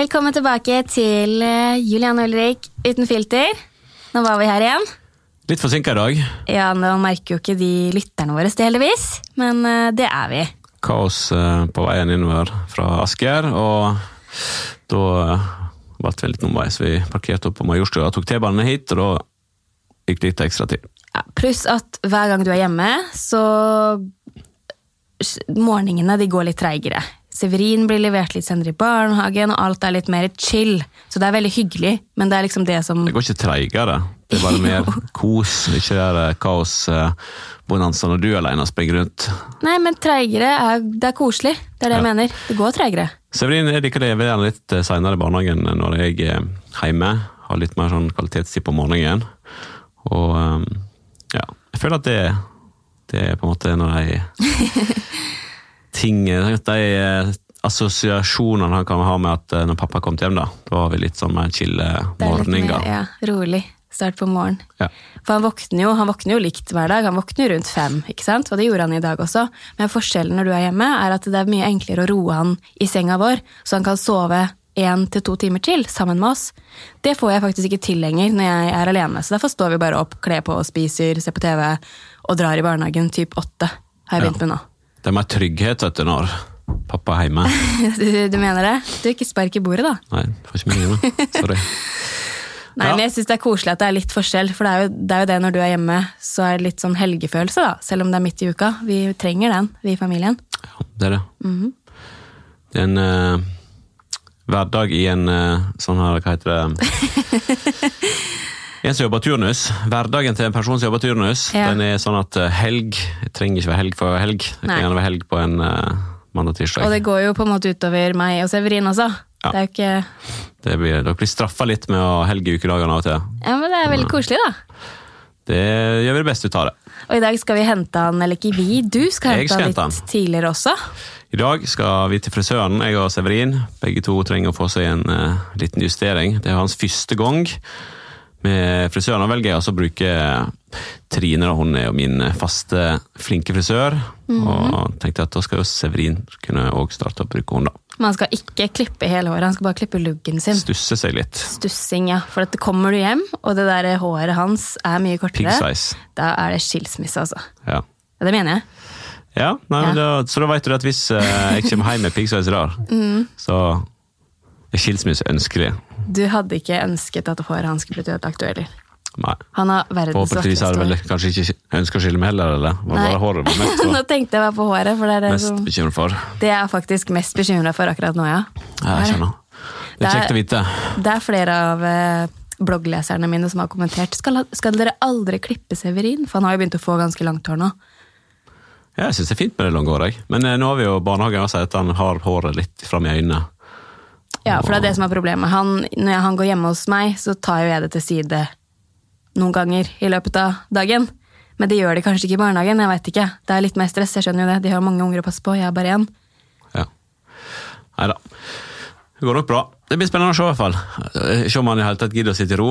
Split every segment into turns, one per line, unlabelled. Velkommen tilbake til eh, Julian Ulrik uten filter. Nå var vi her igjen.
Litt forsinka i dag.
Ja, Nå merker jo ikke de lytterne våre det, heldigvis, men eh, det er vi.
Kaos eh, på veien innover fra Asker, og da eh, ble vi litt omveis. Vi parkerte opp på Majorstua, tok T-banen hit, og da gikk det litt ekstra tid.
Ja, pluss at hver gang du er hjemme, så s- Morgenene de går litt treigere. Severin blir levert litt senere i barnehagen, og alt er litt mer chill. Så det er veldig hyggelig, men det er liksom det som
Det går ikke treigere. Det er bare mer kos, ikke det eh, der kaosbonanza når du alene springer rundt.
Nei, men treigere er, det er koselig. Det er det jeg mener. Det går treigere.
Severin er liker det gjerne litt seinere i barnehagen enn når jeg er hjemme. Har litt mer sånn kvalitetstid på morgenen. Og um, ja, jeg føler at det, det er på en måte en av de ting De eh, assosiasjonene han kan ha med at eh, når pappa kom hjem, da, da var vi litt sånn mer chille
Det er litt mer,
morgener.
ja, rolig start på morgenen.
Ja.
For han våkner, jo, han våkner jo likt hver dag, han våkner jo rundt fem, ikke sant? og det gjorde han i dag også. Men forskjellen når du er hjemme, er at det er mye enklere å roe han i senga vår, så han kan sove én til to timer til sammen med oss. Det får jeg faktisk ikke til lenger når jeg er alene, så derfor står vi bare opp, kler på, spiser, ser på TV og drar i barnehagen typ åtte, har jeg
Ja.
begynt med nå.
Det er mer trygghet vet du, når pappa er hjemme.
Du, du mener det? Du, ikke spark i bordet, da.
Nei, får ikke med meg nå. Sorry.
Nei,
Ja.
men jeg synes det er koselig at det er litt forskjell, for det er, jo, det er jo det når du er hjemme, så er det litt sånn helgefølelse da, selv om det er midt i uka. Vi trenger den, vi i familien.
Ja, det er det.
Mhm.
Det er en eh, hverdag i en eh, sånn her, hva heter det En som jobber turnus. Hverdagen til en person som jobber turnus,
Ja.
den er sånn at eh, helg Det trenger ikke være helg for å være helg. Det
Nei.
kan gjerne være helg på en eh, mandag-tirsdag.
Og det
Det...
går jo på en måte utover meg og Severin også.
Ja.
Det er jo ikke...
blir- Dere blir straffa litt med å ha helg i ukedagene av og til.
Ja, men det er veldig koselig da.
Det gjør vi det beste ut av det.
Og i dag skal vi hente han, eller ikke vi, du skal
Jeg
hente
skal
han
hente
litt tidligere også.
I dag skal vi til frisøren, jeg og Severin. Begge to trenger å få seg en eh, liten justering. Det er hans første gang med frisøren. og velger jeg også å bruke Trine, da hun er jo min eh, faste, flinke frisør. Og tenkte at da skal jo Severin kunne også starte å bruke henne, da.
Man skal ikke klippe hele håret, han skal bare klippe luggen sin.
Stusse seg litt.
Stussing, ja. For at det kommer du hjem, og det der håret hans er mye kortere.
Piggsveis.
Da er det skilsmisse, altså.
Ja.
Ja, det mener jeg.
Ja, nei, men Da, så da vet du at hvis eh, jeg kommer hjem med piggsveis i dag, så er skilsmisse ønskelig.
Du hadde ikke ønsket at håret hans skulle blitt ødelagt, du heller.
Nei.
Han har verdens
Forhåpentligvis har
svarteste
du vel
hår.
kanskje ikke ønska å skille meg heller, eller? Var
Nei.
bare håret var mest for.
Nå tenkte jeg bare på håret, for det er det,
mest
som,
bekymret for.
det jeg er faktisk mest bekymra for akkurat nå, ja.
Ja, jeg skjønner. Det er kjekt å vite.
Det er flere av eh, bloggleserne mine som har kommentert skal, skal dere aldri klippe Severin, for han har jo begynt å få ganske langt hår nå.
Ja, jeg syns det er fint med det lange håret. jeg. Men eh, nå har vi jo barnehagen og sier at han har håret litt fram i øynene.
Ja, for det er det som er problemet. Han, når han går hjemme hos meg, så tar jo jeg det til side noen ganger i løpet av dagen. Men det gjør de kanskje ikke i barnehagen, jeg vet ikke. Det er litt mer stress, jeg skjønner jo det. De har mange unger å passe på, jeg er bare én.
Ja. Nei da. Det går nok bra. Det blir spennende å se, i hvert fall. Eh, Se om han i hele tatt gidder å sitte i ro.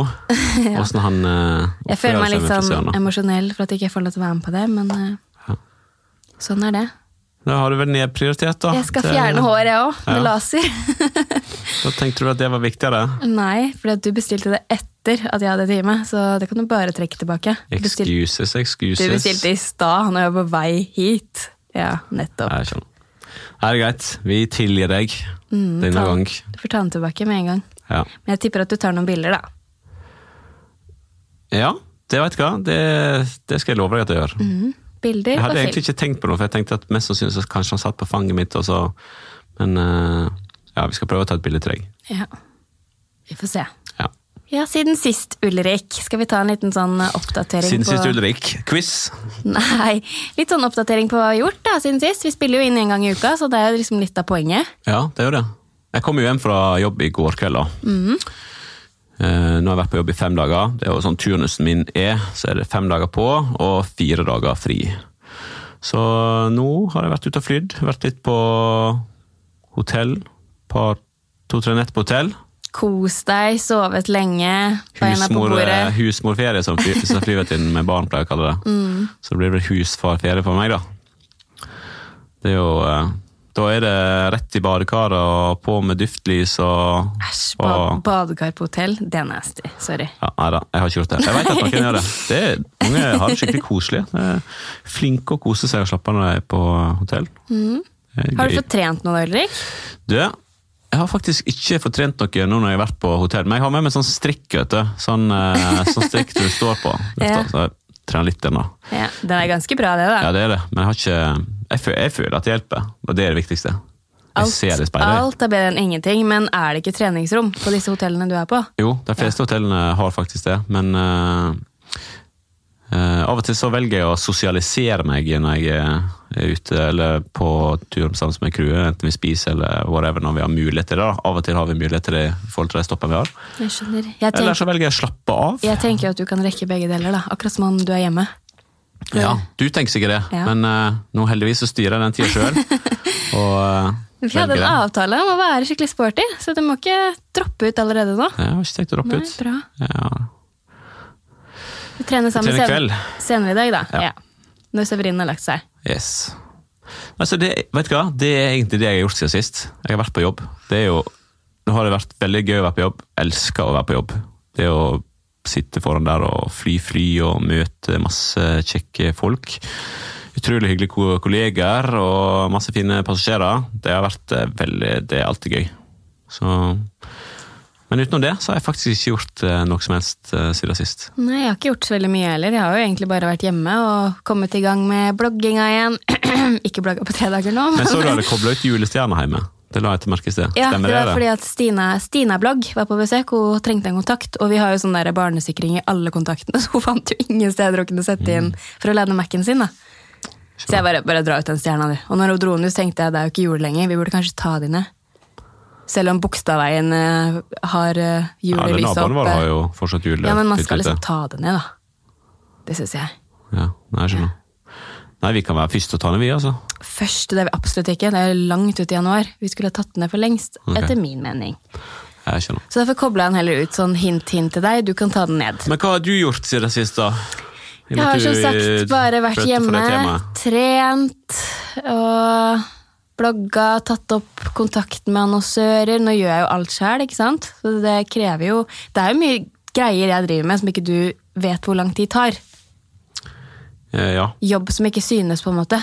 Åssen han eh,
Jeg føler meg litt
oppfører seg med
sånn
frisøren. da.
emosjonell for at jeg ikke får lov til å være med på det, men eh,
Ja.
sånn er det.
Da har du vel nedprioritert, da.
Jeg skal
til-
fjerne hår, jeg òg, med
Ja.
laser.
Da tenkte du at det var viktigere?
Nei, fordi at du bestilte det etter at jeg hadde time, så det kan du bare trekke tilbake. Du bestil-
Excuses, excuses.
Du bestilte i stad, når jeg var på vei hit. Ja, nettopp.
Nei, jeg skjønner. Nei, det er greit. Vi tilgir deg denne
Ta-
gang.
Du får ta den tilbake med en gang.
Ja.
Men jeg tipper at du tar noen bilder, da.
Ja, det vet jeg hva. Det, det skal jeg love deg at jeg gjør.
Mm.
Jeg
Mhm. Bilder og
hadde egentlig
film.
ikke tenkt på noe, for jeg tenkte at mest sannsynlig så kanskje han satt på fanget mitt, og så Men eh, ja, vi skal prøve å ta et bilde til deg.
Ja. Vi får se.
Ja.
Ja, siden sist, Ulrik. Skal vi ta en liten sånn eh, oppdatering
Siden
på
sist, Ulrik. Quiz.
Nei, litt sånn oppdatering på hva vi har gjort da, siden sist. Vi spiller jo inn en gang i uka, så det er jo liksom litt av poenget.
Ja, det er jo det. Jeg kom jo hjem fra jobb i går kveld, da. Eh, nå har jeg vært på jobb i fem dager. Det er jo sånn turnusen min er, så er det fem dager på og fire dager fri. Så nå har jeg vært ute og flydd. Vært litt på hotell. Par, to-tre nett på hotell.
Kos deg, sovet lenge, beina på
Husmor, eh,
bordet.
husmorferie, som, fly, som flyvertinnen med barn pleier å
Mm.
kalle det. Så det blir vel husfarferie for meg, da. Det er jo eh, Da er det rett i badekaret og på med duftlys og
Æsj,
og-
bad, badekar på hotell, det er nasty. Sorry.
ja, Nei da, jeg har ikke gjort det. Jeg vet at noen gjør det. det er, mange har det skikkelig koselig. De er flinke å kose seg og slappe av når de er på hotell. Det er
Mm. Har du
gøy.
fått trent noe da, Ulrik?
Du, jeg har faktisk ikke fått trent noe nå når jeg har vært på hotell, men jeg har med meg sånn strikk, vet du. Sånn, eh, sånn strikk du står på.
Ja.
Så jeg trener litt ennå.
Ja, den er ganske bra, det, da.
Ja, det er det, men jeg har ikke Jeg føler, jeg føler at det hjelper, og det er det viktigste. Jeg ser det i speilet.
alt er bedre enn ingenting, men er det ikke treningsrom på disse hotellene du er på?
Jo, de fleste hotellene har faktisk det, men eh, eh, av og til så velger jeg å sosialisere meg når jeg er ute eller på tur sammen med crewet, enten vi spiser eller whatever, når vi har mulighet til det. da. Av og til har vi mulighet til det i forhold til de stoppene vi har.
Jeg skjønner. Jeg
Eller
tenker,
så velger jeg å slappe av.
jeg tenker at du kan rekke begge deler, da. akkurat som om du er hjemme.
Ja, du tenker sikkert det,
Ja.
men eh, nå heldigvis så styrer jeg den tida sjøl. Og eh,
Vi hadde
velger
en
det.
avtale om å være skikkelig sporty, så du må ikke droppe ut allerede nå.
Jeg har ikke tenkt å droppe
Nei,
ut.
bra.
Ja.
Vi trener sammen
trener i
senere, senere i dag, da.
Ja.
Ja. Når Severin har lagt seg.
Yes. Altså, det, vet du hva? Det er egentlig det jeg har gjort siden sist. Jeg har vært på jobb. Det er jo, nå har det vært veldig gøy å være på jobb. Jeg elsker å være på jobb. Det å sitte foran der og fly fly og møte masse kjekke folk. Utrolig hyggelige ko- kolleger og masse fine passasjerer. Det har vært eh, veldig, det er alltid gøy. Så, men utenom det så har jeg faktisk ikke gjort eh, noe som helst eh, siden sist.
Nei, jeg har ikke gjort så veldig mye heller. Jeg har jo egentlig bare vært hjemme og kommet i gang med blogginga igjen. ikke blogga på tre dager nå.
Men så du hadde kobla ut julestjerna hjemme. Det la jeg til merke i sted.
Ja,
Stemmer
det
det?
var
eller?
fordi at Stina, Stina Blogg var på besøk, hun trengte en kontakt, og vi har jo sånn der barnesikring i alle kontaktene, så hun fant jo ingen steder hun kunne sette inn for å lade Mac-en sin. da. Så jeg bare, bare dra ut den stjerna, du. Og når hun dro den ut, så tenkte jeg det er jo ikke jul lenger, vi burde kanskje ta de ned. Selv om Bogstadveien eh, har uh,
Ja, den
julelys
naboen
oppe.
vår har jo fortsatt jul.
eh. Ja, men man skal
tilknyttet.
liksom ta det ned, da. Det syns jeg.
Ja, nei, jeg skjønner. Nei, vi kan være først og ta ned, vi, altså.
Først, det er vi absolutt ikke. Det er langt ut i januar. Vi skulle ha tatt den ned for lengst,
Ok.
etter min mening.
Jeg skjønner.
Så derfor kobla jeg den heller ut sånn hint, hint til deg. Du kan ta den ned.
Men hva har du gjort siden sist, da? I og med
Jeg har
at
som
du, eh,
sagt bare vært
følte for
hjemme,
det temaet.
trent og blogga, tatt opp kontakten med annonsører. Nå gjør jeg jo alt sjøl, ikke sant? Så det krever jo Det er jo mye greier jeg driver med som ikke du vet hvor lang tid tar.
Eh, Ja.
Jobb som ikke synes, på en måte.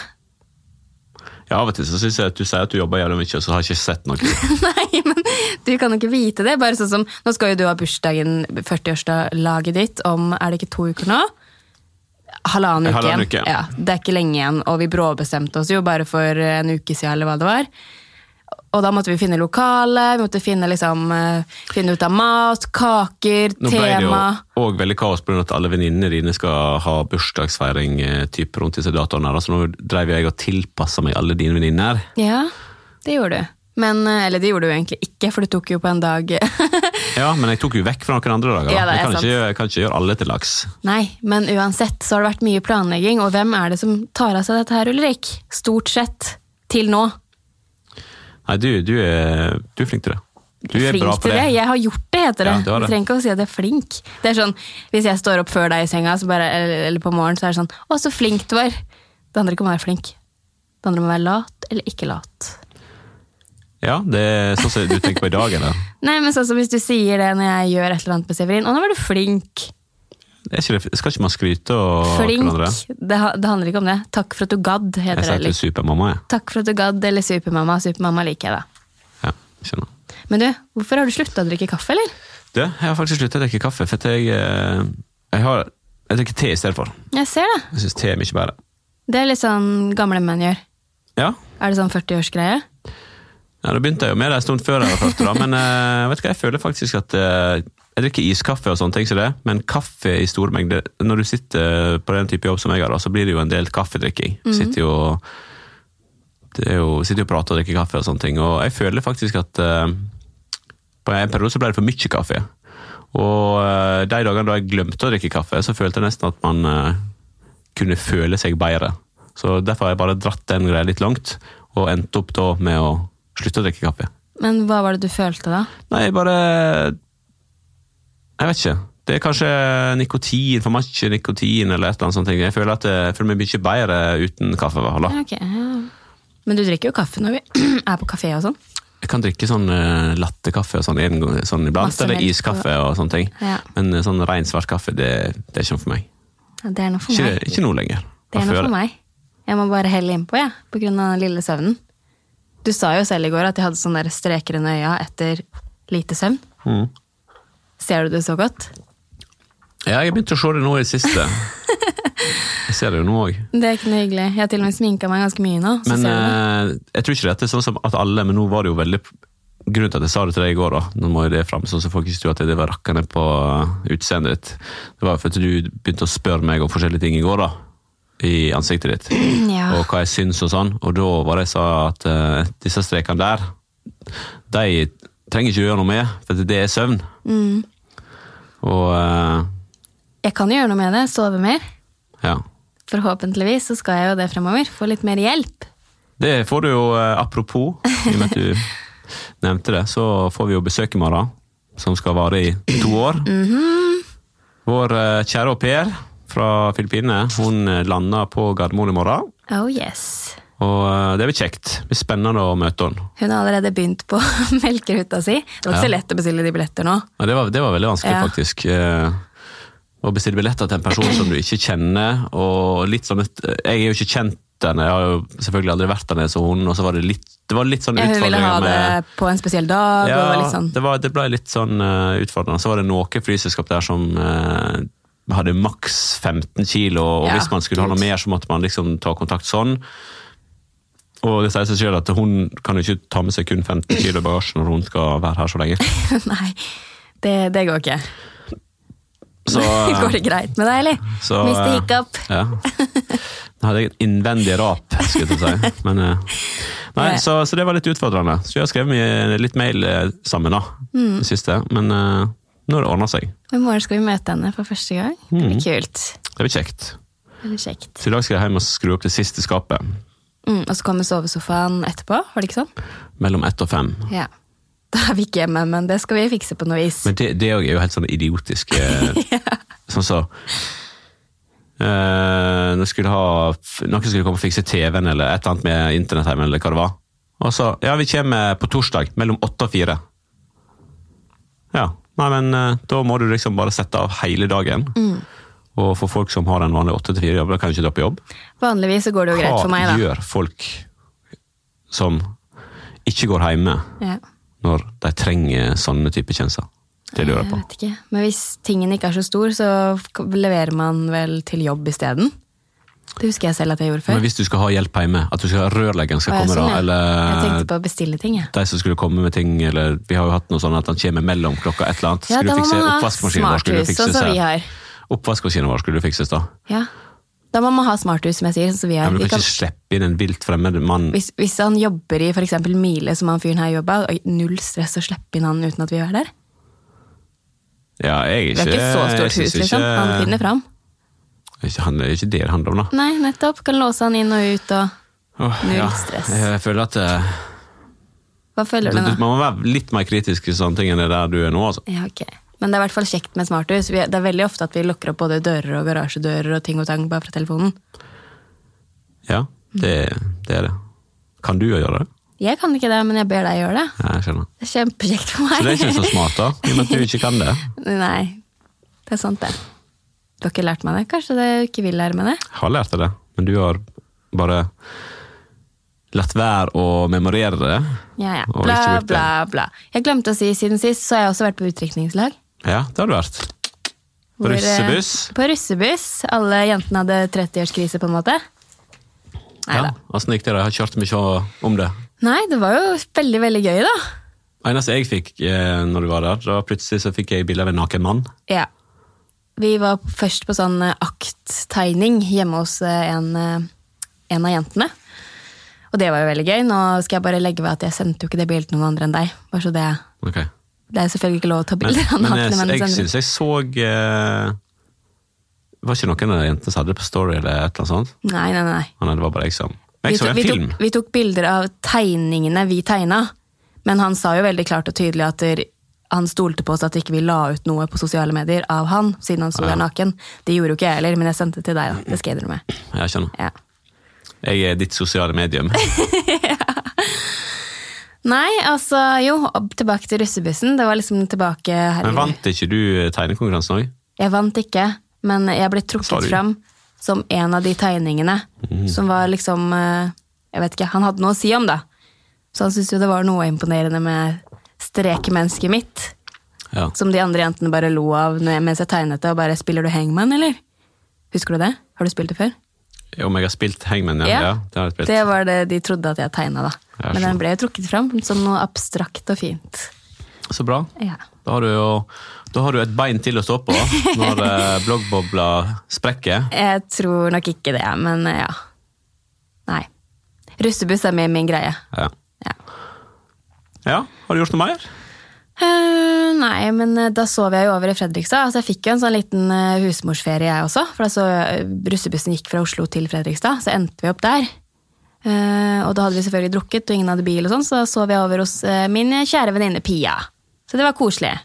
ja, av og til så syns jeg at du sier at du jobber jævlig mye, og så har jeg ikke sett noe.
Nei, men du kan jo ikke vite det. Bare sånn som, Nå skal jo du ha bursdagen, 40-årslaget ditt, om er det ikke to uker nå? Halvannen uke
Halvannen
igjen.
uke, ja.
Ja, det er ikke lenge igjen, og vi bråbestemte oss jo bare for en uke siden, eller hva det var. Og da måtte vi finne lokale, vi måtte finne, liksom, eh, finne ut av mat, kaker,
Nå ble det jo
tema.
òg veldig kaos pga. at alle venninnene dine skal ha bursdagsfeiring eh, typ rundt disse datoene, her, da, så nå drev jeg og tilpassa meg alle dine venninner.
Ja, det gjorde du. Men, eh, eller det gjorde du egentlig ikke, for du tok jo på en dag
Ja, men jeg tok jo vekk fra noen andre dager. da.
Ja, det er
jeg, kan
sant.
ikke, gjøre- jeg kan ikke gjøre alle til laks.
Nei, men uansett så har det vært mye planlegging, og hvem er det som tar av seg dette her, Ulrik? Stort sett. Til nå.
Nei, du, du, er, du er flink til det. Du er
flink
bra på
til
det.
det. Jeg har gjort det, heter det.
Ja, det
Du
har det.
trenger ikke å si at jeg er flink. Det er sånn, Hvis jeg står opp før deg i senga, så bare, eller, eller på morgenen, så er det sånn Å, så flink du var. Det handler ikke om å være flink. Det handler om å være lat eller ikke lat.
Ja, det er sånn som du tenker på i dag, eller?
Nei, men sånn som hvis du sier det når jeg gjør et eller annet med Severin. Å, nå var du flink.
Er ikke det, skal ikke man skryte og
Flink.
hverandre?
Det, ha- det handler ikke om det. Takk for at du gadd,
Jeg
heter det.
sier til
Eller,
supermamma, jeg.
takk for at du gadd, eller supermamma. Supermamma liker jeg, da.
Ja, skjønner.
Men du, hvorfor har du slutta å drikke kaffe, eller?
Du, jeg har faktisk sluttet å drikke kaffe, for at jeg, eh, jeg, har, jeg drikker te i stedet for.
Jeg ser det.
Jeg syns te er mye bedre.
Det er litt sånn gamle menn gjør.
Ja,
Er det sånn 40-årsgreie?
ja da begynte jeg jo med det en stund før jeg var 40, da, men eh, vet du hva, jeg føler faktisk at eh, jeg drikker iskaffe og sånne ting som det, men kaffe i store mengder Når du sitter eh, på den type jobb som jeg har, da, så blir det jo en del kaffedrikking.
Mhm.
Sitter jo det er jo, sitter jo og prater og drikker kaffe og sånne ting, og jeg føler faktisk at eh, på en periode så ble det for mye kaffe. Og eh, de dagene da jeg glemte å drikke kaffe, så følte jeg nesten at man eh, kunne føle seg bedre. Så derfor har jeg bare dratt den greia litt langt, og endt opp da med å slutte å drikke kaffe.
Men hva var det du følte da?
Nei, bare Jeg vet ikke. Det er kanskje nikotin, for mye eh, nikotin eller et eller annet sånt. Jeg føler at jeg føler meg mye bedre uten kaffe. i hvert fall, da.
Ja, ok, ja. Men du drikker jo kaffe når vi er på kafé og sånn.
Jeg kan drikke sånn eh, lattekaffe og sånn, en, gang- sånn iblant,
Masse
eller
melk og-
iskaffe og sånne ting.
Ja.
Men eh, sånn rein svart kaffe, det, det er ikke noe for meg.
Ja, det er noe for
Ikke,
meg.
ikke nå lenger.
Det er
Fra
noe
før.
for meg. Jeg må bare helle innpå, jeg, på grunn av den lille søvnen. Du sa jo selv i går at jeg hadde sånne der streker under øya etter lite søvn.
Mm.
Ser du det så godt?
Ja, jeg begynte å se det nå i det siste. Jeg ser det jo nå òg.
Det er ikke noe hyggelig. Jeg har til og med sminka meg ganske mye nå. Så
Men
ser du det.
eh, jeg tror ikke dette er sånn som at alle, men nå var det jo veldig Grunnen til at jeg sa det til deg i går, da, nå må jo det fram sånn som folk ikke tror at det var rakkende på eh, utseendet ditt, det var jo fordi du begynte å spørre meg om forskjellige ting i går, da. I ansiktet ditt.
Ja.
eh, Og hva jeg syns og sånn. Og da var det jeg sa at eh, disse strekene der, de trenger ikke du gjøre noe med, for det er søvn. Og eh,
Jeg kan jo gjøre noe med det. Sove mer.
ja.
Forhåpentligvis så skal jeg jo det fremover. Få litt mer hjelp.
Det får du jo, eh, apropos, i og med at du nevnte det, så får vi jo besøk i morgen, som skal vare i to år.
Mm.
Mhm. Vår eh, kjære au pair fra Filippinene, hun eh, lander på Gardermoen i morgen.
Oh yes.
Og eh, det blir kjekt. Det blir spennende å møte henne.
Hun har allerede begynt på melkeruta si. Det var ikke
Ja.
så lett å bestille de billetter nå.
Ja, det, var, det var veldig vanskelig,
Ja.
faktisk. eh, Å bestille billetter til en person som du ikke kjenner, og litt sånn et, Jeg er jo ikke kjent henne, jeg har jo selvfølgelig aldri vært der nede som hun, og så var det litt, det var litt sånn
Ja, hun ville
utfordringer
ha det på en spesiell dag. og var litt sånn.
det, var, det ble litt sånn eh, utfordrende. Så var det noen flyselskap der som eh, hadde maks 15 kilo, og
Ja,
hvis man skulle ha noe
Gud.
mer, så måtte man liksom ta kontakt sånn. Og det sier seg selv at hun kan jo ikke ta med seg kun 15 kilo i bagasjen når hun skal være her så lenge.
Nei, det, det går ikke.
Så, eh,
Går det greit med deg, eller?
så, eh,
Mr. Hiccup.
Ja. Da hadde jeg et innvendig rap, skulle jeg til å si. Men, eh, nei,
Nei.
så, så det var litt utfordrende. Så jeg har skrevet mye- litt mail eh, sammen da, det siste. Men eh, nå har det ordna seg.
Og I morgen skal vi møte henne for første gang. Det
Mhm.
blir kult.
Det blir kjekt.
Veldig kjekt.
Så i dag skal jeg hjem og skru opp det siste skapet.
Mm, og så kommer sovesofaen etterpå, var det ikke sånn?
Mellom ett og fem.
Ja. Da er vi ikke hjemme, men det skal vi fikse på noe vis.
Men det, det er jo helt sånn idiotisk. eh, Sånn så eh, nå skulle ha, Noen skulle komme og fikse TV-en eller et eller annet med internett hjemme, eller hva det var. Og så Ja, vi kommer på torsdag mellom åtte og fire. Ja. Nei, men eh, da må du liksom bare sette av hele dagen.
Mm.
Og for folk som har en vanlig åtte til fire-jobb, da kan du ikke dra på jobb.
Vanligvis så går det jo greit for meg,
Hva
da.
gjør folk som ikke går hjemme,
Ja.
når de trenger sånne type tjenester? Det lurer jeg
Jeg
på.
vet ikke. Men hvis tingen ikke er så stor, så k- leverer man vel til jobb isteden? Det husker jeg selv at jeg gjorde
Men
før.
hvis du skal ha hjelp hjemme, at du skal ha rørleggeren
Å,
skal
ja,
komme
sånn, ja.
da,
Jeg tenkte
eller
på å bestille ting, jeg.
de som skulle komme med ting, eller vi har jo hatt noe sånn at han kommer mellom klokka et eller annet.
Ja,
Skulle
da
du
må
fikse
man ha
oppvaskmaskinen vår, skulle du
smarthus,
fikses
sånn som vi
her.
har.
Oppvaskmaskinen vår skulle du fikses da.
Ja. Da må man ha smarthus, som jeg sier, sånn som vi
Ja,
har.
men du
Vi
kan
kan,
ikke slippe inn en vilt fremmed mann.
hvis, hvis han jobber i f.eks. Mile, som han fyren her jobba, null stress å slippe inn han uten at vi er der.
Ja, jeg
Vi
er
har
ikke...
ikke så
jeg
stort
synes
hus, liksom. Han finner fram.
Ikke- han- Det er ikke det det handler om da.
Nei, nettopp. Kan låse han inn og ut og
Åh,
Null
ja.
stress.
Jeg føler at... eh,
Hva føler du
Du-
nå?
du- Man må være litt mer kritisk til sånne ting enn det der du er nå, altså.
Ja, ok. Men det er i hvert fall kjekt med smarthus. Vi, det er veldig ofte at vi lukker opp både dører og garasjedører og ting og tang bare fra telefonen.
Ja,
Mm.
det, det er det. Kan du jo gjøre det?
Jeg kan ikke det, men jeg ber deg gjøre det.
Ja, jeg skjønner.
Det er kjempekjekt for meg.
Så det er ikke så smart da, i og med at du ikke kan det.
Nei, det er sant det. Du har ikke lært meg det. Kanskje du ikke vil lære meg det?
Jeg har lært deg det, men du har bare latt være å memorere det.
Ja, ja.
Og
Bla,
ikke brukt det.
bla, bla. Jeg glemte å si siden sist, så har jeg også vært på utdrikningslag.
Ja, det har du vært.
Hvor, eh,
Russebuss.
På russebuss. Alle jentene hadde 30-årskrise, på en måte. Nei
Ja,
da.
Åssen gikk det? da? Jeg har kjørt mye om det.
Nei, det var jo veldig, veldig gøy, da.
eneste jeg fikk eh, når du var der, da plutselig så fikk jeg bilde av en naken mann.
Ja. Vi var først på sånn eh, akttegning hjemme hos eh, en, eh, en av jentene. Og det var jo veldig gøy. Nå skal jeg bare legge ved at jeg sendte jo ikke det bildet til noen andre enn deg. Bare så det,
Ok.
det er selvfølgelig ikke lov å ta
Men,
bilder av
men
nakne
jeg,
menn.
jeg
Sandra.
syns jeg så eh, Var ikke noen av de jentene som hadde det på Story eller et eller annet sånt?
Nei, nei, nei.
Ah, Nei, det var bare jeg som Men
Vi
jeg så
tok,
en
vi,
film.
tok, vi tok bilder av tegningene vi tegna, men han sa jo veldig klart og tydelig at der, han stolte på oss at ikke vi la ut noe på sosiale medier av han, siden han sto der naken. Det gjorde jo ikke jeg heller, men jeg sendte det til deg, da. Det skal jeg innrømme.
Jeg skjønner.
Ja.
Jeg er ditt sosiale medium.
Nei, altså jo, opp- tilbake til russebussen. Det var liksom tilbake her.
Men vant ikke du tegnekonkurransen òg?
Jeg vant ikke, men jeg ble
Sa
trukket
du?
fram som en av de tegningene
Mhm.
som var liksom eh, Jeg vet ikke, han hadde noe å si om, da. Så han syntes jo det var noe imponerende med strekmennesket mitt.
Ja.
Som de andre jentene bare lo av når jeg, mens jeg tegnet det, og bare 'Spiller du hangman, eller?' Husker du det? Har du spilt det før?
Om jeg har spilt Hangman? Ja, ja. det har jeg spilt.
Det var det de trodde at jeg tegna, da. Men
Ja, skjønner.
den ble jo trukket fram som noe abstrakt og fint.
Så bra.
Ja.
Da har, du jo, da har du et bein til å stå på når eh, bloggbobla sprekker.
Jeg tror nok ikke det, men eh, ja. Nei. Russebuss er mer min greie.
Ja.
Ja.
ja, har du gjort noe mer?
Eh, nei, men eh, da sov jeg jo over i Fredrikstad. Altså, jeg fikk jo en sånn liten eh, husmorsferie, jeg også. For da så, eh, russebussen gikk fra Oslo til Fredrikstad, så endte vi opp der. Eh, og da hadde vi selvfølgelig drukket, og ingen hadde bil, og sånn, så da sov jeg over hos eh, min kjære venninne Pia. Så det var koselig.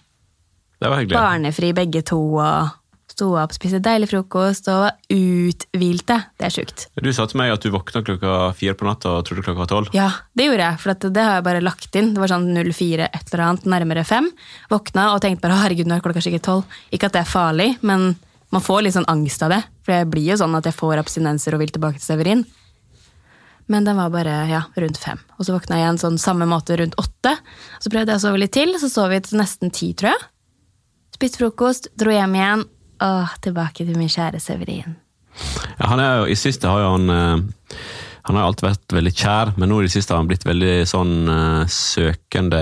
Det var hyggelig.
Barnefri begge to, og sto opp, spiste deilig frokost og var uthvilte. Det er sjukt.
Du sa til meg at du våkna klokka fire på natta og trodde klokka var tolv.
Ja, det gjorde jeg, for at det har jeg bare lagt inn. Det var sånn 04 et eller annet, nærmere fem. Våkna og tenkte bare herregud, nå er klokka sikkert tolv. Ikke at det er farlig, men man får litt sånn angst av det. For jeg blir jo sånn at jeg får abstinenser og vil tilbake til Severin. Men den var bare ja, rundt fem. Og så våkna jeg igjen sånn samme måte rundt åtte. Så prøvde jeg å sove litt til, så sov vi til nesten ti, tror jeg. Spiste frokost, dro hjem igjen. Åh, tilbake til min kjære Severin.
Ja, han er jo, I siste har jo han eh, Han har jo alltid vært veldig kjær, men nå i det siste har han blitt veldig sånn eh, søkende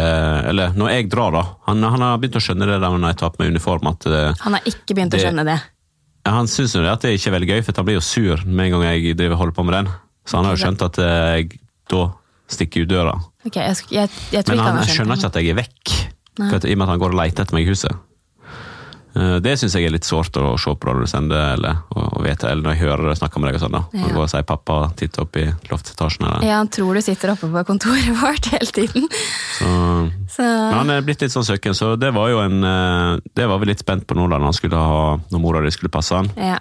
Eller når jeg drar, da. Han, han har begynt å skjønne det der når jeg tar på meg uniform, at eh,
Han har ikke begynt å
Det-
skjønne det.
ja, han syns jo det at det ikke er veldig gøy, for han blir jo sur med en gang jeg driver holder på med den. Så han har jo skjønt at eh, jeg da stikker ut døra.
Ok, jeg, sk- jeg, jeg tror
Men
ikke han
han
har skjønt
skjønner
det.
ikke at jeg er vekk, for at, i og med at han går og leter etter meg i huset. Eh, Det syns jeg er litt sårt å se på når du sender eller, og, og vet, eller når jeg hører deg snakke med deg. og sånn da.
Ja.
Han går og sier 'pappa, titt opp i loftetasjen'. Eller.
Ja, han tror du sitter oppe på kontoret vårt hele tiden.
Så,
Så
men han er blitt litt sånn søken, så det var jo en eh, Det var vi litt spent på nå da når han skulle ha, når mora di skulle passe han,
ja.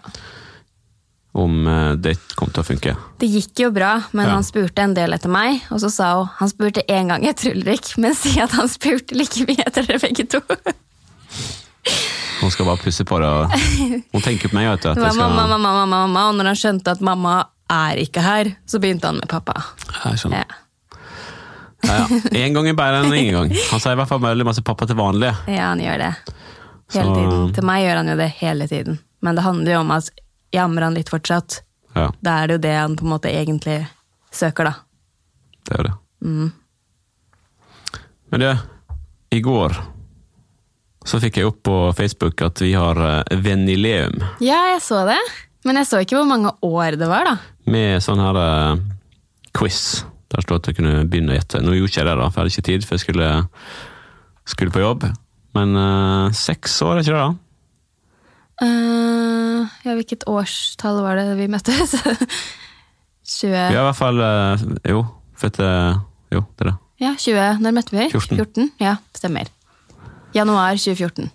om eh, det kom til å funke.
Det gikk jo bra, men
Ja.
han spurte en del etter meg. Og så sa hun han spurte én gang etter Ulrik, men si at han spurte like mye etter dere begge to. Det
Hun skal bare pusse på det. Og, hun tenker på meg, vet du. At
var
jeg skal,
mamma, mamma, mamma, mamma, og når han skjønte at mamma er ikke her, så begynte han med pappa.
Jeg skjønner.
Ja.
Ja, ja. En gang er bedre enn ingen gang. Han sier i hvert fall veldig masse 'pappa' til vanlig.
ja, han gjør det. Hele
Så-
tiden. Til meg gjør han jo det hele tiden. Men det handler jo om at jammer han litt fortsatt.
Ja,
Da er det jo det han på en måte egentlig søker, da. Mm.
det er jo det. Men du, i går så fikk jeg opp på Facebook at vi har eh, venileum
Ja, jeg så det. Men jeg så ikke hvor mange år det var, da.
med sånn her eh, quiz. Der står at jeg kunne begynne å gjette. Nå gjorde ikke jeg det, da, for jeg hadde ikke tid, for jeg skulle, skulle på jobb. Men eh, seks år, er ikke det? da?
Eh, ja, hvilket årstall var det vi møttes? 20
Vi
ja.
har i hvert fall eh, Jo, født eh, Jo, det er det.
20 Når møtte vi?
14.
Ja, stemmer. Januar 2014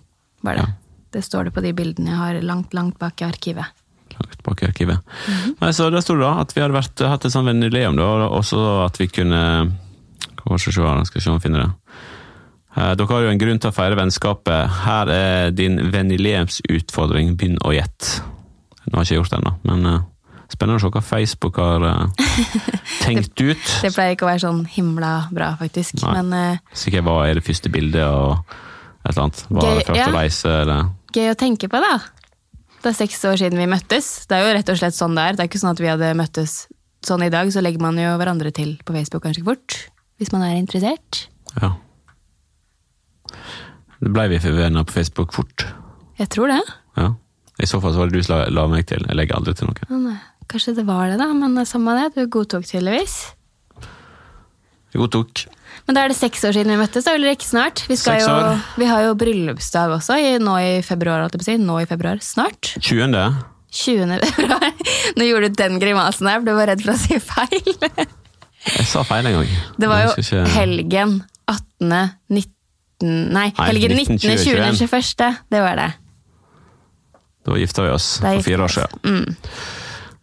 var det.
Ja.
Det står det på de bildene jeg har langt, langt bak i arkivet.
Langt bak i arkivet. Nei, så Der sto det da at vi hadde vært, hatt et sånt venneleum, da, og så at vi kunne Hva skal vi se her, skal se om vi finner det. Eh, Dere har jo en grunn til å feire vennskapet. Her er din venneleumsutfordring. Begynn å gjette. Nå har jeg ikke gjort det ennå, men eh, spennende å se hva Facebook har eh, tenkt ut.
Det pleier ikke å være sånn himla bra, faktisk.
Nei.
Men eh,
Sikkert hva er det første bildet og et eller annet. Hva har
Gøy,
jeg klart
ja.
å reise, eller
gøy å tenke på, da. Det er seks år siden vi møttes. Det er jo rett og slett sånn det er. Det er ikke sånn at vi hadde møttes sånn i dag, så legger man jo hverandre til på Facebook ganske fort. Hvis man er interessert.
Ja. Det ble vi venner på Facebook fort.
Jeg tror det.
Ja. I så fall så var det du som la, la meg til. Jeg legger aldri til noe.
Ja, nei. Kanskje det var det, da, men samme det. Du godtok tydeligvis.
Jeg godtok.
Men da er det seks år siden vi møttes, da, Ulrik. Snart. Vi, skal
Seks
jo,
år.
vi har jo bryllupsdag også, i, nå i februar. Holdt jeg på å si. Nå i februar. Snart.
20.
20. februar. Nå gjorde du den grimasen her, for du var redd for å si feil.
Jeg sa feil en gang.
Det var jo
Jeg husker ikke-
helgen 18. 19. Nei, helgen 19. 20. 21. Det var det.
Da gifta vi oss
Da
for
gifta
fire
vi
år
oss.
siden.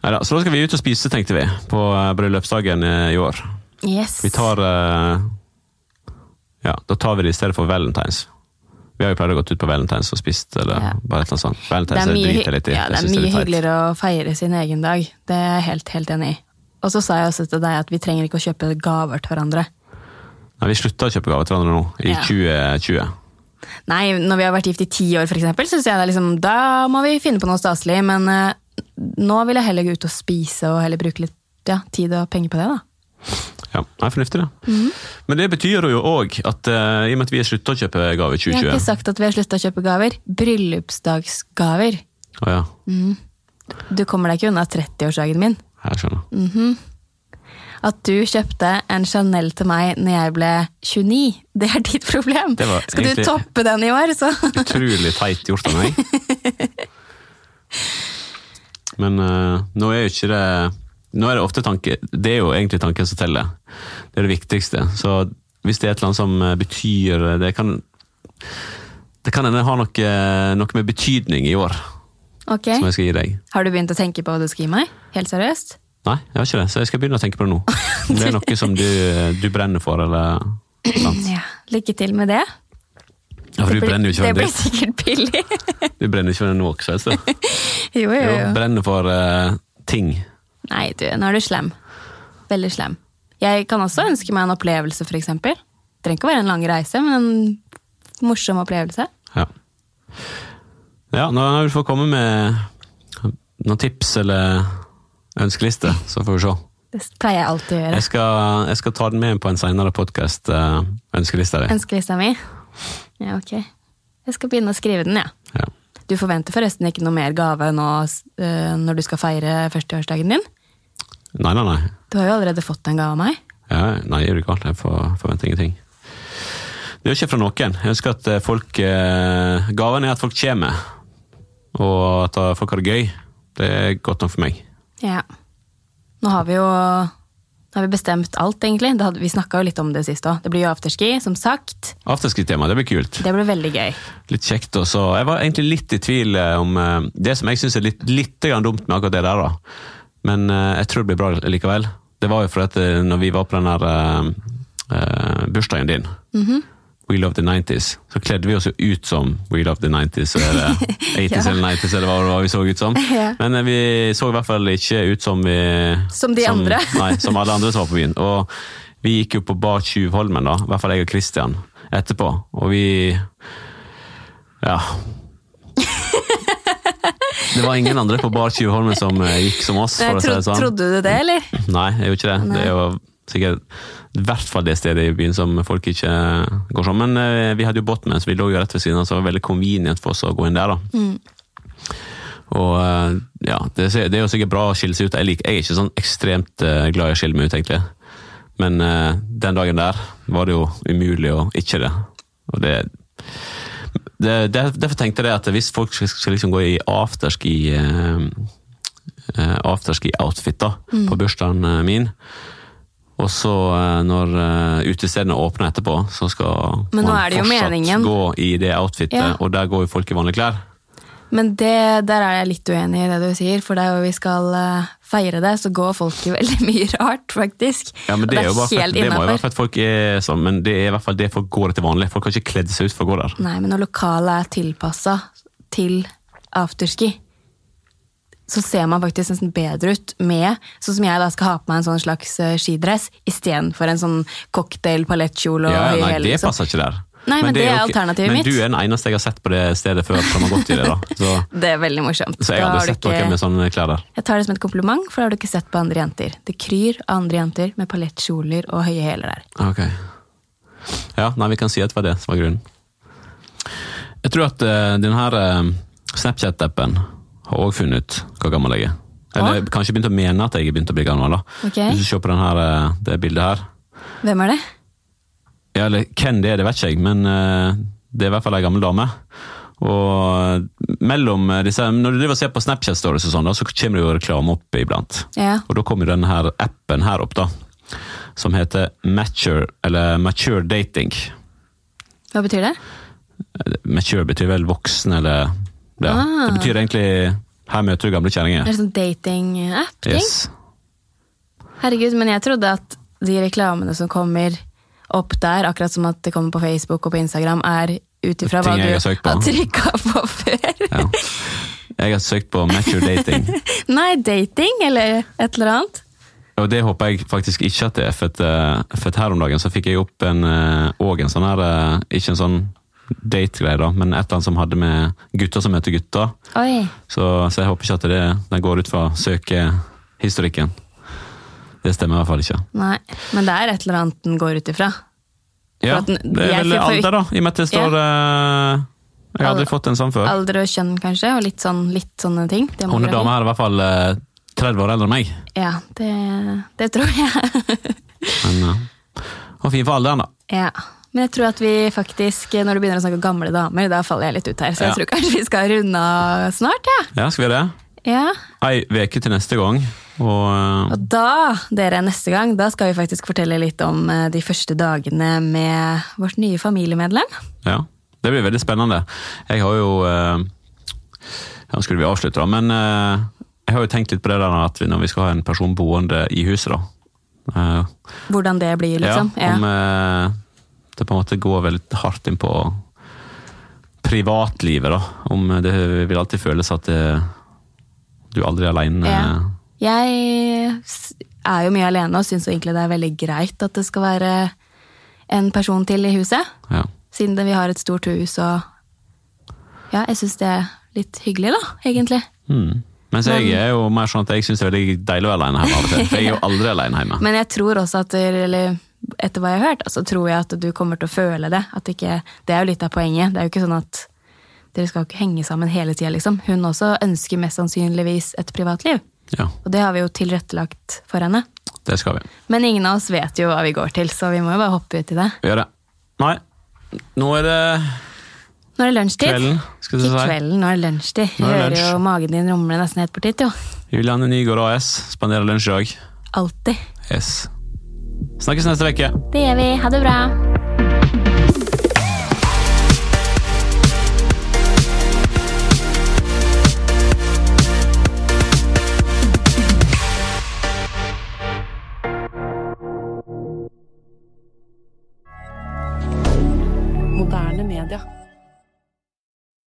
Neida, så da skal vi ut og spise, tenkte vi, på eh, bryllupsdagen eh, i år.
Yes.
Vi tar eh, Ja, da tar vi det i stedet for valentines. Vi har jo pleid å gå ut på valentines og spist, eller
Ja.
bare et eller annet sånt.
det
Valentines
er
det
mye,
driter jeg litt i.
ja, det
Jeg
er
synes
mye
litt teit.
hyggeligere å feire sin egen dag. Det er jeg helt, helt enig i. Og så sa jeg også til deg at vi trenger ikke å kjøpe gaver til hverandre.
Nei, vi slutta å kjøpe gaver til hverandre nå, i
Ja.
2020.
Nei, når vi har vært gift i ti år, for eksempel, synes jeg det er liksom, da må vi finne på noe staselig. Men eh, nå vil jeg heller gå ut og spise og heller bruke litt ja, tid og penger på det. da.
Ja, det er fornuftig, det. Men det betyr jo òg at eh, i og med at vi har slutta å kjøpe gaver i
Jeg har
2020
ikke sagt at vi har slutta å kjøpe gaver. Bryllupsdagsgaver.
Å ja,
Du kommer deg ikke unna 30-årsdagen min.
jeg skjønner.
At du kjøpte en Chanel til meg når jeg ble 29, det er ditt problem.
Det var
Skal
egentlig-
du toppe den i år, så
Utrolig teit gjort av meg. Men eh, nå er jo ikke det Nå er det ofte tanke Det er jo egentlig tanken som teller. Det er det viktigste. Så hvis det er et eller annet som eh, betyr Det kan Det kan hende ha noe, eh, noe med betydning i år,
Ok.
som jeg skal gi deg.
Har du begynt å tenke på hva du skal gi meg? Helt seriøst?
Nei, jeg har ikke det, så jeg skal begynne å tenke på det nå. Om Det er noe som du, du brenner for, eller sant?
Ja, Lykke til med det.
Ja, for du
Det blir-
brenner jo ikke
Det
for en
blir
dritt.
sikkert billig.
Du brenner ikke for en walk, så jeg ser.
jo, jo,
altså. Jo,
jo.
brenner for eh, ting.
Nei, du, nå er du slem. Veldig slem. Jeg kan også ønske meg en opplevelse, for eksempel. Det trenger ikke å være en lang reise, men en morsom opplevelse.
Ja. ja, når du får komme med noen tips eller ønskeliste, så får vi se.
Det pleier jeg alltid å gjøre.
Jeg skal, jeg skal ta den med på en senere podkast, uh, ønskelista di.
Ønskelista mi? Ja, ok. Jeg skal begynne å skrive den, ja.
Ja.
Du forventer forresten ikke noe mer gave nå eh, når du skal feire førsteårsdagen din?
Nei, nei, nei.
Du har jo allerede fått en gave av meg.
Ja, nei, er du gal? Jeg får, forventer ingenting. Det er jo ikke fra noen. Jeg ønsker at eh, folk eh, Gaven er at folk kommer, og at eh, folk har det gøy. Det er godt nok for meg.
Ja. Nå har vi jo nå har vi bestemt alt, egentlig. Det hadde, vi snakka jo litt om det sist òg. Det blir jo afterski, som sagt.
Afterskritt-tema, det blir kult.
Det blir veldig gøy.
Litt kjekt også. Jeg var egentlig litt i tvil eh, om eh, Det som jeg syns er litt, litt grann dumt med akkurat det der, da. Men eh, jeg tror det blir bra likevel. Det var jo fordi at eh, når vi var på den der eh, eh, bursdagen din,
Mhm.
We Love the 90s, så kledde vi oss jo ut som We Love the 90s, eller 80s eller 90s, eller hva det var vi så ut som.
Ja.
Men eh, vi så i hvert fall ikke ut som vi
Som de andre.
Nei, som alle andre som var på byen. Og vi gikk jo på Bar Tjuvholmen, da, i hvert fall jeg og Christian, etterpå. Og vi Ja. Det var ingen andre på Bar Tjuvholmen som eh, gikk som oss, for å si
Tro,
det sånn.
Trodde du det, eller?
Nei, jeg gjorde ikke det. Det er jo sikkert i hvert fall det stedet i byen som folk ikke går sånn. Men eh, vi hadde jo båt med, så vi lå jo rett ved siden av, så det var veldig convenient for oss å gå inn der. da. Og eh, ja, det, er- det er jo sikkert bra å skille seg ut. Jeg, liker, jeg er ikke sånn ekstremt eh, glad i å skille meg ut, egentlig. Men eh, den dagen der var det jo umulig å ikke det. Og det det, der- derfor tenkte jeg at hvis folk skal, skal liksom gå i afterski eh, eh, afterski-outfit da,
Mm.
på bursdagen eh, min, og så eh, når eh, utestedene åpner etterpå, så skal
Men nå
man
er det jo
fortsatt
meningen.
gå i det outfitet,
Ja.
og der går jo folk i vanlige klær.
Men det, der er jeg litt uenig i det du sier, for det er jo vi skal eh, feire det, så går folk i veldig mye rart, faktisk.
Ja, men
Og
det, er jo bare for, at-
helt
det må jo
innenfor.
være for at folk er sånn, men det er i hvert fall det folk går til vanlig. Folk har ikke kledd seg ut for å gå der.
Nei, men når lokalet er tilpassa til afterski, så ser man faktisk nesten bedre ut med Sånn som jeg da skal ha på meg en sånn slags eh, skidress istedenfor en sånn cocktail, palettkjole og
Ja,
høy
nei,
hæl,
det
liksom.
passer ikke der.
Nei, men det
jo
er
ikke-
alternativet mitt.
Men du er den eneste jeg har sett på det stedet før som har gått i det. da. Så,
Det er veldig morsomt.
så jeg
Da
har
har
aldri
du
sett noen med sånne klær der.
Jeg tar det som et kompliment, for da har du ikke sett på andre jenter. Det kryr av andre jenter med palettkjoler og høye hæler der.
Ok. Ja, nei, vi kan si at det var det som var grunnen. Jeg tror at eh, den her eh, Snapchat-appen har også funnet ut hvor gammel jeg er. Eller
Hva?
kanskje begynt å mene at jeg er begynt å bli gammel. da.
Ok.
Hvis du ser på den her, eh, det bildet her.
Hvem er det?
Ja, eller hvem det er, det vet ikke jeg, men eh, det er i hvert fall ei gammel dame. Og mellom eh, disse, Når du driver og ser på Snapchat-stories, og sånn, da, så kommer det jo reklame opp iblant.
Ja.
Og da kommer jo denne her appen her opp, da. Som heter Mature, eller Mature Dating.
Hva betyr det?
Mature betyr vel voksen, eller ja.
Ah.
Det betyr egentlig Her møter du gamle
Det er
kjerringer.
en sånn dating-app-ting.
Yes.
Herregud, men jeg trodde at de reklamene som kommer opp der, akkurat som at det kommer på Facebook og på Instagram, er ut ifra hva
Ting
du
jeg har
har
søkt på.
trykka på før.
Ja. Jeg har søkt på Match Your Dating,
Nei, dating eller et eller annet.
og det håper jeg faktisk ikke at det er. For, at, eh, for at her om dagen så fikk jeg opp en eh, og en sånn her eh, Ikke en sånn date-greie, da, men et eller annet som hadde med gutter som møter gutter.
Oi.
Så, så jeg håper ikke at det, den går ut fra søkehistorikken. Det stemmer i hvert fall ikke.
Nei, men det er et eller annet den går ut ifra.
Ja,
at
det
den-
er
jeg
vel
ser for-
alder, da, i og med at det står eh, Jeg har aldri fått en sånn før.
Alder og kjønn, kanskje, og litt, sånn, litt sånne ting.
Hun
Demografi.
dama her er i hvert fall eh, 30 år eldre enn meg.
Ja, det, det tror jeg.
Men eh, hun var fin for alderen, da.
ja. Men jeg tror at vi faktisk, når du begynner å snakke om gamle damer, da faller jeg litt ut her, så
Ja.
jeg tror kanskje vi skal runde av snart, ja.
Ja, skal vi gjøre det?
ja.
Ei uke til neste gang. Og eh,
Og da, dere, neste gang, da skal vi faktisk fortelle litt om eh, de første dagene med vårt nye familiemedlem.
ja, det blir veldig spennende. Jeg har jo eh, Ja, nå skulle vi avslutte, da, men eh, jeg har jo tenkt litt på det der at vi- når vi skal ha en person boende i huset, da. eh,
Hvordan det blir, liksom.
Ja, om eh, det på en måte går veldig hardt inn på privatlivet, da. Om det vil alltid føles at det, du aldri er aleine.
Ja. Jeg s- er jo mye alene og syns egentlig det er veldig greit at det skal være en person til i huset.
Ja.
Siden det- vi har et stort hus og Ja, jeg syns det er litt hyggelig, da, egentlig.
Mm. Mens jeg er jo mer sånn at jeg syns det er veldig deilig å være aleine hjemme av og til. For jeg er jo aldri aleine hjemme.
Men jeg tror også at det- eller etter hva jeg har hørt, så tror jeg at du kommer til å føle det. At ikke, det er jo litt av poenget. Det er jo ikke sånn at dere skal ikke henge sammen hele tida, liksom. Hun også ønsker mest sannsynligvis et privatliv.
Ja,
Og det har vi jo tilrettelagt for henne.
det skal vi.
Men ingen av oss vet jo hva vi går til, så vi må jo bare hoppe ut i det.
Vi gjør det. Nei, nå er det
Nå er det lunsjtid.
kvelden, skal vi
Ikke
si.
kvelden, nå er det lunsjtid.
Nå
Jeg
er
hører
det lunsj.
jo magen din rumle nesten helt bort dit, jo.
Julianne Nygaard AS spanderer lunsj i dag.
Alltid.
Yes. Snakkes neste uke.
Det gjør vi. Ha det bra.